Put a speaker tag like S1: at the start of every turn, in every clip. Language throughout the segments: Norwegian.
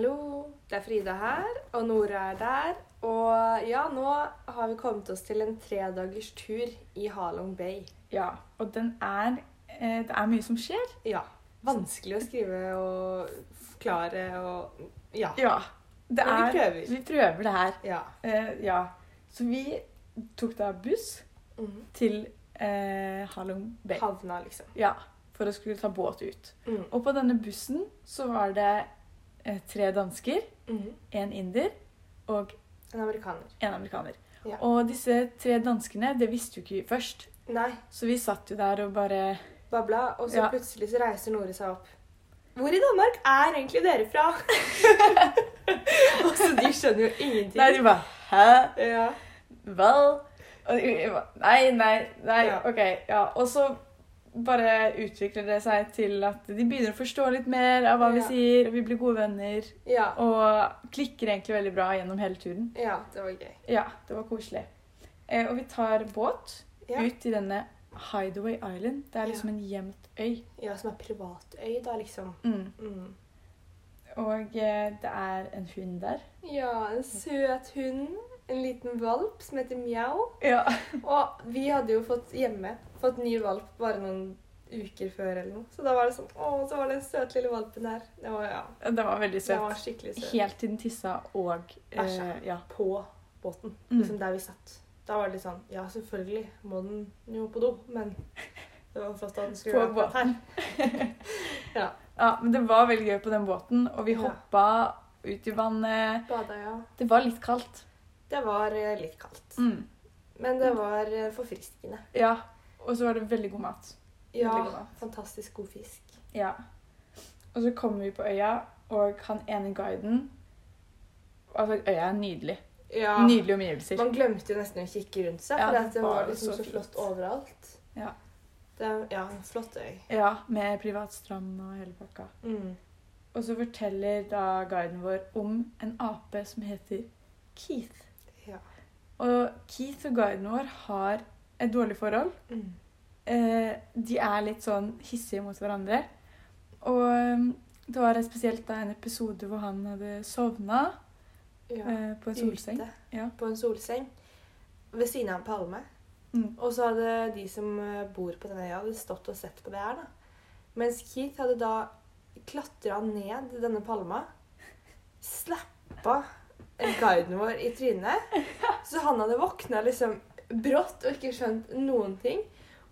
S1: Hallo, det er Frida her, og Nora er der. Og ja, nå har vi kommet oss til en tredagers tur i Halong Bay.
S2: Ja, og den er eh, Det er mye som skjer.
S1: Ja. Vanskelig å skrive og forklare og Ja.
S2: Ja. Det
S1: Men vi
S2: er,
S1: prøver.
S2: Vi prøver det her.
S1: Ja.
S2: Eh, ja. Mm. Så vi tok da buss
S1: Mhm.
S2: til eh, Halong Bay.
S1: Havna, liksom.
S2: Ja, for å skulle ta båt ut.
S1: Mhm.
S2: Og på denne bussen så var det eh, tre dansker,
S1: Mhm.
S2: en inder og
S1: En amerikaner.
S2: en amerikaner.
S1: Ja.
S2: Og disse tre danskene, det visste jo ikke vi først.
S1: Nei,
S2: Så vi satt jo der og bare
S1: babla, og så
S2: Ja.
S1: plutselig så reiser Nora seg opp. Hvor i Danmark er egentlig dere fra? og så de skjønner jo ingenting.
S2: Nei, de bare Hæ?
S1: ja.
S2: Vel Og jeg bare, Nei, nei, nei.
S1: Ja.
S2: OK. Ja. Og så bare utvikler det seg til at de begynner å forstå litt mer av hva vi
S1: Ja.
S2: sier, og vi blir gode venner.
S1: ja.
S2: Og klikker egentlig veldig bra gjennom hele turen.
S1: Ja, det var gøy.
S2: Ja, det var koselig. Eh, og vi tar båt
S1: Ja.
S2: ut til denne Hideaway Island. Det
S1: Ja.
S2: er liksom en gjemt øy.
S1: Ja, som er privatøy, da, liksom.
S2: Mm.
S1: Mm.
S2: Og eh, det er en hund der.
S1: Ja, en søt hund. En liten valp som heter Mjau.
S2: Ja.
S1: Og vi hadde jo fått hjemme fått ny valp bare noen uker før eller noe. Så da var det sånn Å, så var det den søte lille valpen der. Det var, ja,
S2: Den var veldig
S1: den
S2: søt.
S1: var skikkelig søt.
S2: Helt til den tissa og eh,
S1: Æsja.
S2: Ja.
S1: På båten,
S2: Mm.
S1: liksom der vi satt. Da var det litt sånn Ja, selvfølgelig må den jo på do, men det var flott at den skulle
S2: På
S1: være akkurat her.
S2: Ja, men det var veldig gøy på den båten, og vi
S1: Ja.
S2: hoppa ut i vannet.
S1: Bada, ja.
S2: Det var litt kaldt.
S1: Det var eh, litt kaldt. Men det var eh, forfriskende.
S2: Mm. Ja, og så var det veldig god mat.
S1: Ja,
S2: Veldig god mat.
S1: fantastisk god fisk.
S2: Ja. Og så kommer vi på øya, og han ene guiden Altså, øya er nydelig.
S1: Ja.
S2: Nydelige omgivelser.
S1: Man glemte jo nesten å kikke rundt seg,
S2: Ja,
S1: for
S2: det
S1: det var,
S2: var
S1: liksom
S2: så
S1: så,
S2: fint.
S1: flott overalt.
S2: Ja.
S1: Det er, ja, en flott øy. Mm.
S2: Ja, med privat strand og hele pakka. Og så forteller da guiden vår om en ape som heter Keith.
S1: Ja.
S2: Og Keith og guiden vår har et dårlig forhold.
S1: Mm.
S2: Eh, de er litt sånn hissige mot hverandre. Og eh, det var spesielt da en episode hvor han hadde sovna
S1: Ja.
S2: eh, på en solseng.
S1: Ute
S2: Ja.
S1: På en solseng ved siden av en palme.
S2: Mm.
S1: Og så hadde de som eh, bor på denne øya, hadde stått og sett på det her. da. Mens Keith hadde da klatra ned denne palma, slappa guiden vår i trynet. Så han hadde våkna liksom brått og ikke skjønt noen ting.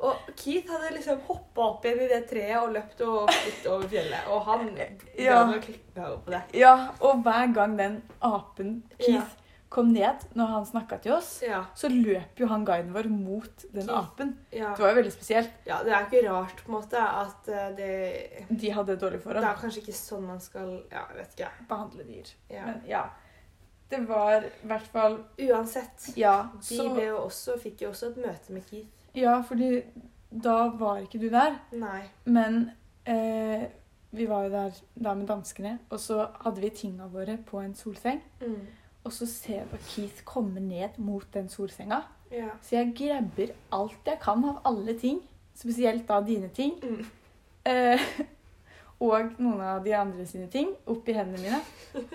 S1: Og Keith hadde liksom hoppa opp igjen i det treet og løpt og flytt over fjellet. Og han
S2: Ja.
S1: klikka jo på det.
S2: ja, og hver gang den apen Keith
S1: Ja.
S2: kom ned når han snakka til oss,
S1: Ja,
S2: så løp jo han guiden vår mot den
S1: Keith.
S2: apen.
S1: ja.
S2: Det var jo veldig spesielt.
S1: ja, det er ikke rart på en måte at eh, det
S2: De hadde et dårlig forhold.
S1: Det er kanskje ikke sånn man skal Ja, jeg vet ikke.
S2: Behandle dyr.
S1: Ja.
S2: Men ja. Det var i hvert fall
S1: Uansett.
S2: Ja.
S1: De
S2: Så,
S1: ble jo også, fikk jo også et møte med Keith.
S2: ja, fordi da var ikke du der.
S1: Nei.
S2: Men eh, vi var jo der da med danskene, og så hadde vi tinga våre på en solseng.
S1: Mm.
S2: Og så ser jeg Keith komme ned mot den solsenga.
S1: Ja.
S2: Så jeg grabber alt jeg kan av alle ting, spesielt da dine ting.
S1: Mm.
S2: Eh, og noen av de andre sine ting oppi hendene mine.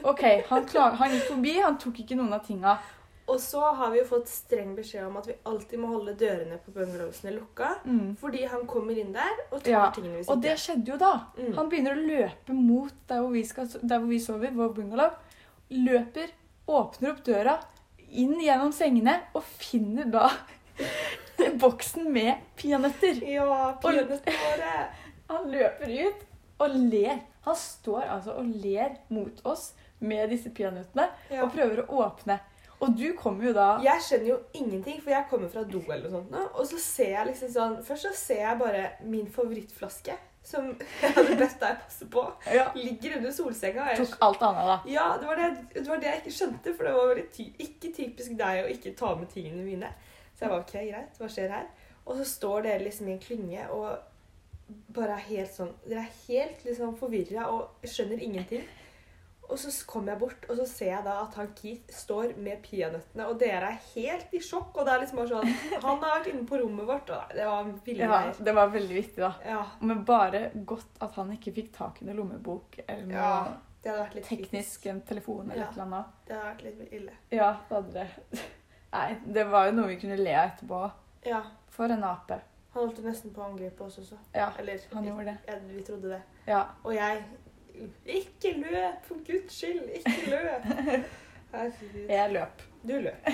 S2: OK, han, klar, han gikk forbi, han tok ikke noen av tinga.
S1: Og så har vi jo fått streng beskjed om at vi alltid må holde dørene på bungalowsene lukka.
S2: Mm.
S1: Fordi han kommer inn der og tar
S2: Ja,
S1: tingene vi
S2: Og
S1: sitter
S2: det skjedde jo da.
S1: Mm.
S2: Han begynner å løpe mot der hvor vi, skal, der hvor vi sover, vår bungalow. Løper, åpner opp døra, inn gjennom sengene og finner da boksen med peanøtter.
S1: Ja, peanøttene våre!
S2: Han løper ut og ler. Han står altså og ler mot oss med disse peanøttene
S1: Ja.
S2: og prøver å åpne. Og du kommer jo da
S1: Jeg skjønner jo ingenting, for jeg kommer fra do eller noe sånt. nå, Og så ser jeg liksom sånn Først så ser jeg bare min favorittflaske, som jeg hadde bedt deg passe på,
S2: ja,
S1: ligger under solsenga. og jeg
S2: tok alt annet, da.
S1: Ja, det var det, det var det jeg ikke skjønte, for det var veldig ty ikke typisk deg å ikke ta med tingene mine. Så jeg var OK, greit, hva skjer her? Og så står dere liksom i en klynge og bare er helt sånn Dere er helt liksom forvirra og skjønner ingenting. Og så s- kommer jeg bort, og så ser jeg da at han Keith står med peanøttene, og dere er helt i sjokk, og det er liksom bare sånn Han har vært inne på rommet vårt, og det var ville
S2: Ja,
S1: greier.
S2: det var veldig vittig, da.
S1: Ja.
S2: Men bare godt at han ikke fikk tak i noen lommebok eller noe
S1: Ja. Det hadde vært litt
S2: teknisk en telefon eller
S1: Ja.
S2: et eller annet.
S1: kritisk. Det hadde vært litt ille.
S2: Ja, det hadde det. Nei, det var jo noe vi kunne le av etterpå.
S1: Ja.
S2: For en ape.
S1: Han holdt jo nesten på å angripe oss også.
S2: Ja,
S1: Eller
S2: han gjorde det.
S1: Ja, vi trodde det.
S2: Ja.
S1: Og jeg Ikke løp, for guds skyld! Ikke løp! Herregud.
S2: Jeg løp.
S1: Du løp.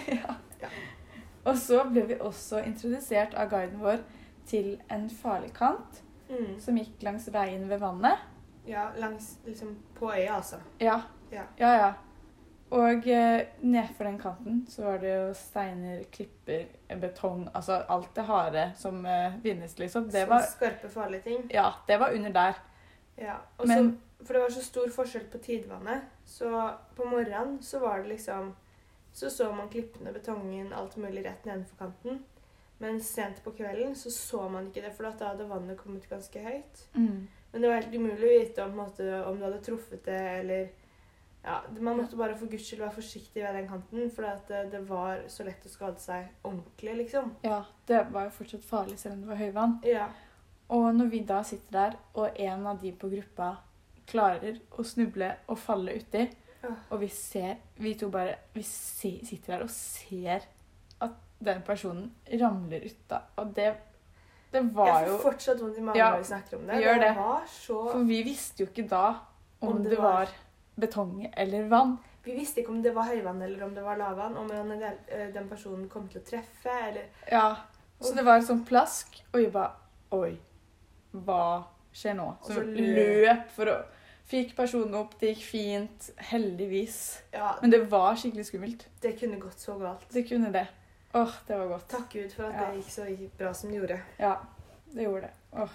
S2: Og så ble vi også introdusert av guiden vår til en farlig kant
S1: Mm.
S2: som gikk langs veien ved vannet.
S1: Ja, langs liksom på øya, altså.
S2: Ja.
S1: Ja.
S2: ja. ja. Og eh, nedfor den kanten så var det jo steiner, klipper, betong Altså alt det harde som eh, vinnes, liksom. Det
S1: Sånne
S2: var,
S1: Skarpe, farlige ting.
S2: ja, det var under der.
S1: Ja. Og så
S2: Men
S1: For det var så stor forskjell på tidvannet. Så på morgenen så var det liksom Så så man klippene, betongen, alt mulig rett nedenfor kanten. Men sent på kvelden så så man ikke det, for da hadde vannet kommet ganske høyt.
S2: mm,
S1: Men det var helt umulig å vite om, på en måte, om du hadde truffet det, eller ja, Man måtte bare for guds skyld være forsiktig ved den kanten, for at eh, det var så lett å skade seg ordentlig, liksom.
S2: ja, det var jo fortsatt farlig selv om det var høyvann.
S1: Ja.
S2: Og når vi da sitter der, og en av de på gruppa klarer å snuble og falle uti,
S1: Åh.
S2: og vi ser Vi to bare Vi se, sitter der og ser at den personen ramler uta, og det Det var
S1: Jeg
S2: jo
S1: får fortsatt vondt i magen
S2: Ja,
S1: når vi snakker om det.
S2: gjør
S1: det
S2: det.
S1: var så
S2: For vi visste jo ikke da om,
S1: Om det
S2: det var betong eller vann.
S1: Vi visste ikke om det var høyvann eller om det var lavvann, om han- eh, den personen kom til å treffe, eller
S2: Ja. Så det var sånn plask, og vi bare Oi, hva skjer nå?
S1: Og
S2: Så,
S1: så
S2: vi
S1: løp.
S2: løp for å Fikk personen opp, det gikk fint. Heldigvis.
S1: Ja,
S2: Men det var skikkelig skummelt.
S1: det kunne gått så galt.
S2: Det kunne det. Åh, det var godt.
S1: Takk Gud for at
S2: Ja.
S1: det gikk så bra som det gjorde.
S2: Ja, det gjorde det. Åh.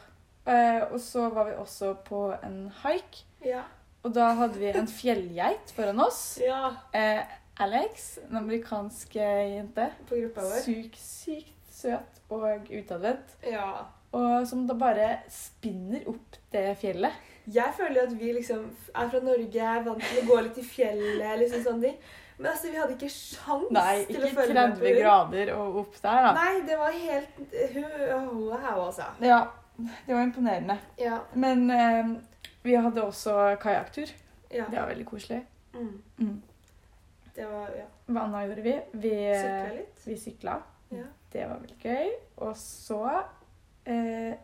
S2: Eh, og så var vi også på en haik,
S1: Ja.
S2: og da hadde vi en fjellgeit foran oss.
S1: ja.
S2: Eh, Alex, en amerikansk eh, jente.
S1: På gruppa vår.
S2: Syk, sykt søt og utadvendt.
S1: Ja.
S2: Og som da bare spinner opp det fjellet.
S1: Jeg føler jo at vi liksom er fra Norge, er vant til å gå litt i fjellet, liksom sånne ting. Men altså, vi hadde ikke sjans
S2: Nei,
S1: til å
S2: ikke
S1: følge med
S2: 30
S1: på henne.
S2: grader og opp der, da.
S1: Nei, det var helt hu- Wow, altså.
S2: Ja, det var imponerende.
S1: Ja.
S2: Men eh, vi hadde også kajakktur.
S1: ja.
S2: Det var veldig koselig.
S1: Mm.
S2: Mm.
S1: Det var Ja.
S2: Hva annet gjorde vi? Vi
S1: Sykla litt.
S2: Vi sykla.
S1: Ja.
S2: Det var veldig gøy. Og så eh,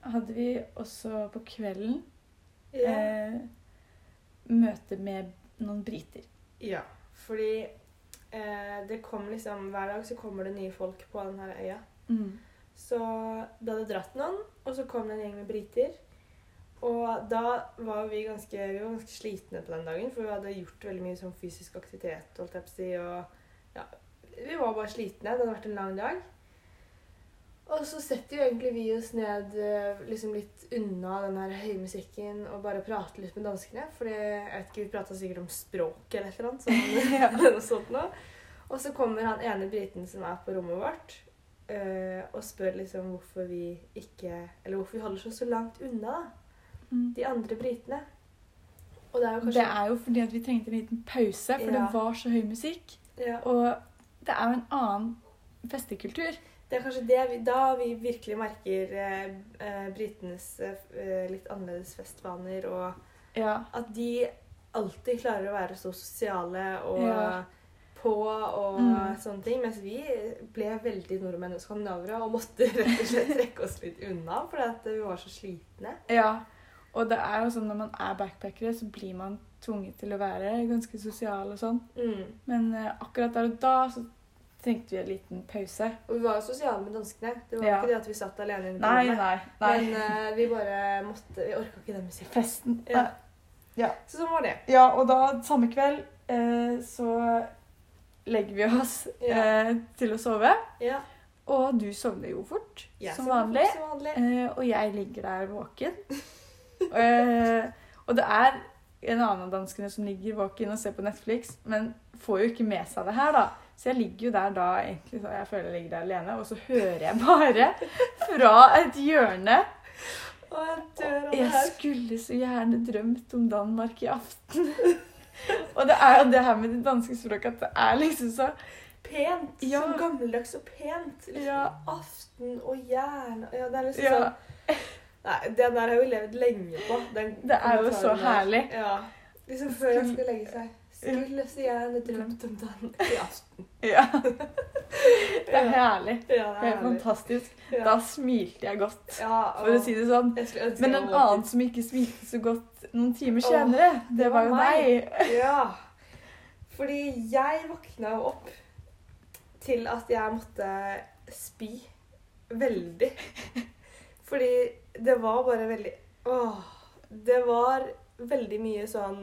S2: hadde vi også på kvelden
S1: ja.
S2: eh, møte med noen briter.
S1: Ja, fordi eh, det kom liksom Hver dag så kommer det nye folk på den her øya. Så det hadde dratt noen, og så kom det en gjeng med briter. Og da var vi ganske, vi var ganske slitne på den dagen, for vi hadde gjort veldig mye sånn fysisk aktivitet. holdt jeg på å si, og ja, Vi var bare slitne. Det hadde vært en lang dag. Og så setter jo egentlig vi oss ned eh, liksom litt unna den her høye musikken og bare prater litt med danskene. For det- jeg vet ikke, vi prata sikkert om språket eller et eller annet. Sånn, eller noe sånt nå. Og så kommer han ene briten som er på rommet vårt, eh, og spør liksom hvorfor vi ikke Eller hvorfor vi holder oss så langt unna da,
S2: Mm.
S1: de andre britene. Og det er jo
S2: Det
S1: kanskje
S2: er jo fordi at vi trengte en liten pause, for det
S1: Ja.
S2: var så høy musikk.
S1: ja,
S2: Og det er jo en annen festekultur.
S1: det, er kanskje det vi, da vi virkelig merker eh, eh, britenes eh, litt annerledes festvaner, og
S2: Ja.
S1: at de alltid klarer å være så sosiale og
S2: Ja.
S1: på og
S2: Mm.
S1: sånne ting. Mens vi ble veldig nordmenn og skandinavere og måtte rett og slett trekke oss litt unna fordi at vi var så slitne.
S2: ja. Og det er jo sånn når man er backpackere, så blir man tvunget til å være ganske sosial og sånn.
S1: Mm.
S2: Men eh, akkurat der og da så trengte vi en liten pause.
S1: Og vi var jo sosiale med danskene. Det var
S2: Ja.
S1: ikke det at vi satt alene inne på
S2: Nei,
S1: rommet.
S2: nei, nei.
S1: Men eh, vi bare måtte Vi orka ikke den musikken.
S2: Festen.
S1: Ja.
S2: Nei.
S1: Så sånn var det.
S2: Ja, og da samme kveld eh, så legger vi oss
S1: Ja.
S2: eh, til å sove.
S1: Ja.
S2: Og du sovner jo fort,
S1: Jeg
S2: som
S1: sov fort
S2: vanlig.
S1: Som vanlig.
S2: Eh, og jeg ligger der våken. eh, og det er en annen av danskene som ligger våken og ser på Netflix, men får jo ikke med seg det her, da. Så jeg ligger jo der da egentlig så jeg føler jeg ligger der alene, og så hører jeg bare fra et hjørne
S1: Og jeg dør av det
S2: jeg
S1: her.
S2: skulle så gjerne drømt om Danmark i aften. og det er jo det her med det danske språket at det er liksom så
S1: Pent.
S2: Ja.
S1: Så gammeldags og pent. Liksom,
S2: Ja.
S1: Aften og jern og Ja, det er liksom
S2: ja,
S1: sånn Nei, den der har vi levd lenge på. Den
S2: Det er jo så
S1: kommentaren der.
S2: herlig.
S1: Ja. Liksom før han skulle legge seg. Skulle så gjerne drømt om dagen i aften.
S2: Ja. Det er herlig.
S1: Ja,
S2: Det er fantastisk.
S1: Ja.
S2: Da smilte jeg godt,
S1: Ja,
S2: for å si det sånn.
S1: Jeg skulle ønske
S2: Men
S1: jeg
S2: en
S1: var-
S2: annen som ikke smilte så godt noen timer
S1: Åh,
S2: senere, det
S1: det var
S2: var jo
S1: meg.
S2: meg.
S1: Ja. Fordi jeg våkna jo opp til at jeg måtte spy veldig. Fordi det var bare veldig Åh. Det var veldig mye sånn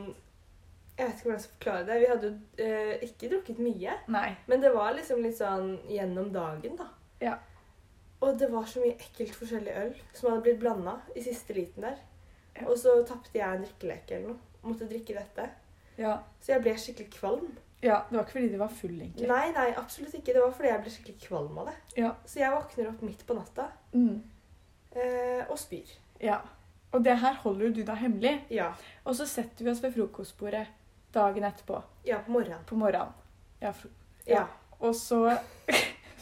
S1: Jeg vet ikke hvordan jeg skal forklare det. Vi hadde jo eh, ikke drukket mye,
S2: Nei.
S1: men det var liksom litt sånn gjennom dagen, da.
S2: Ja.
S1: Og det var så mye ekkelt forskjellig øl som hadde blitt blanda i siste liten der.
S2: Ja.
S1: Og så tapte jeg en drikkeleke eller noe. Måtte drikke dette.
S2: Ja.
S1: Så jeg ble skikkelig kvalm.
S2: ja. Det var ikke fordi du var full, egentlig.
S1: Nei, nei, absolutt ikke. Det var fordi jeg ble skikkelig kvalm av det.
S2: Ja.
S1: Så jeg våkner opp midt på natta
S2: Mm.
S1: eh, og spyr.
S2: Ja. Og det her holder jo du da hemmelig.
S1: Ja.
S2: Og så setter vi oss ved frokostbordet dagen etterpå,
S1: Ja, på morgenen.
S2: på morgenen. Ja, fro
S1: Ja.
S2: og så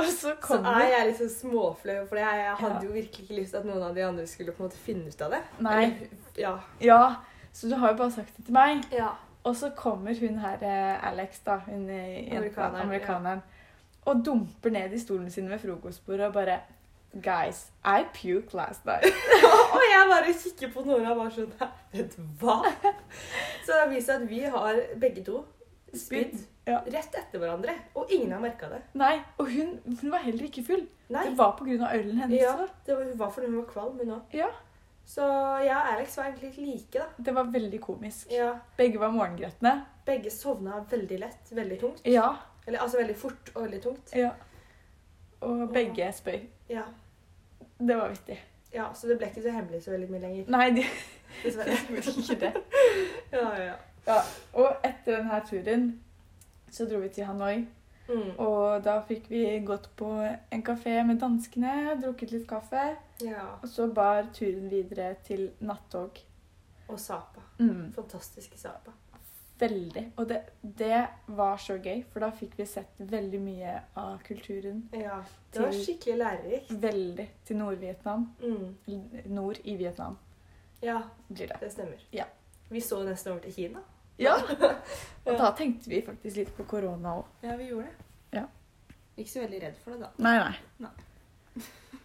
S2: Og så
S1: Så
S2: kommer
S1: er jeg litt sånn småflau, for jeg, jeg hadde
S2: Ja.
S1: jo virkelig ikke lyst til at noen av de andre skulle på en måte finne ut av det.
S2: Nei.
S1: Eller, Ja.
S2: Ja, så du har jo bare sagt det til meg.
S1: ja.
S2: Og så kommer hun her, eh, Alex, da, hun eh, jenta,
S1: Amerikaneren,
S2: amerikaneren, og dumper ned i stolen sin ved frokostbordet og bare Guys, I puked last night.
S1: og jeg bare kikker på Nora og bare sånn "Hæ, Vet du hva? Så det viser seg at vi har begge to spydd
S2: Ja.
S1: rett etter hverandre, og ingen har merka det.
S2: Nei, og hun, hun var heller ikke full.
S1: Nei.
S2: Det var pga. ølen hennes.
S1: Ja.
S2: da.
S1: Det var, hun var fordi hun var kvalm, hun òg.
S2: Ja.
S1: Så jeg og Alex var egentlig litt like, da.
S2: Det var veldig komisk.
S1: Ja.
S2: Begge var morgengretne.
S1: Begge sovna veldig lett, veldig tungt.
S2: Ja.
S1: Eller altså veldig fort og veldig tungt.
S2: ja. Og begge spøy.
S1: Ja.
S2: Det var vittig.
S1: ja så det ble ikke så hemmelig så veldig mye lenger.
S2: Nei, de
S1: Dessverre.
S2: gjorde ikke det.
S1: Ja, ja, ja.
S2: Og etter denne turen så dro vi til Hanoi.
S1: Mm.
S2: Og da fikk vi gått på en kafé med danskene, drukket litt kaffe.
S1: ja.
S2: Og så bar turen videre til nattog.
S1: Og Sapa.
S2: Mm,
S1: Fantastiske Sapa.
S2: veldig. Og det, det var så gøy, for da fikk vi sett veldig mye av kulturen.
S1: Ja. Det var
S2: Til-
S1: skikkelig lærerikt.
S2: Veldig til Nord-Vietnam.
S1: Mm.
S2: Eller Nord i Vietnam
S1: Ja,
S2: blir det.
S1: det stemmer.
S2: Ja.
S1: Vi så nesten over til Kina.
S2: Ja! Og da tenkte vi faktisk litt på korona òg.
S1: Ja, vi gjorde det.
S2: Ja.
S1: Ikke så veldig redd for det, da.
S2: Nei, nei.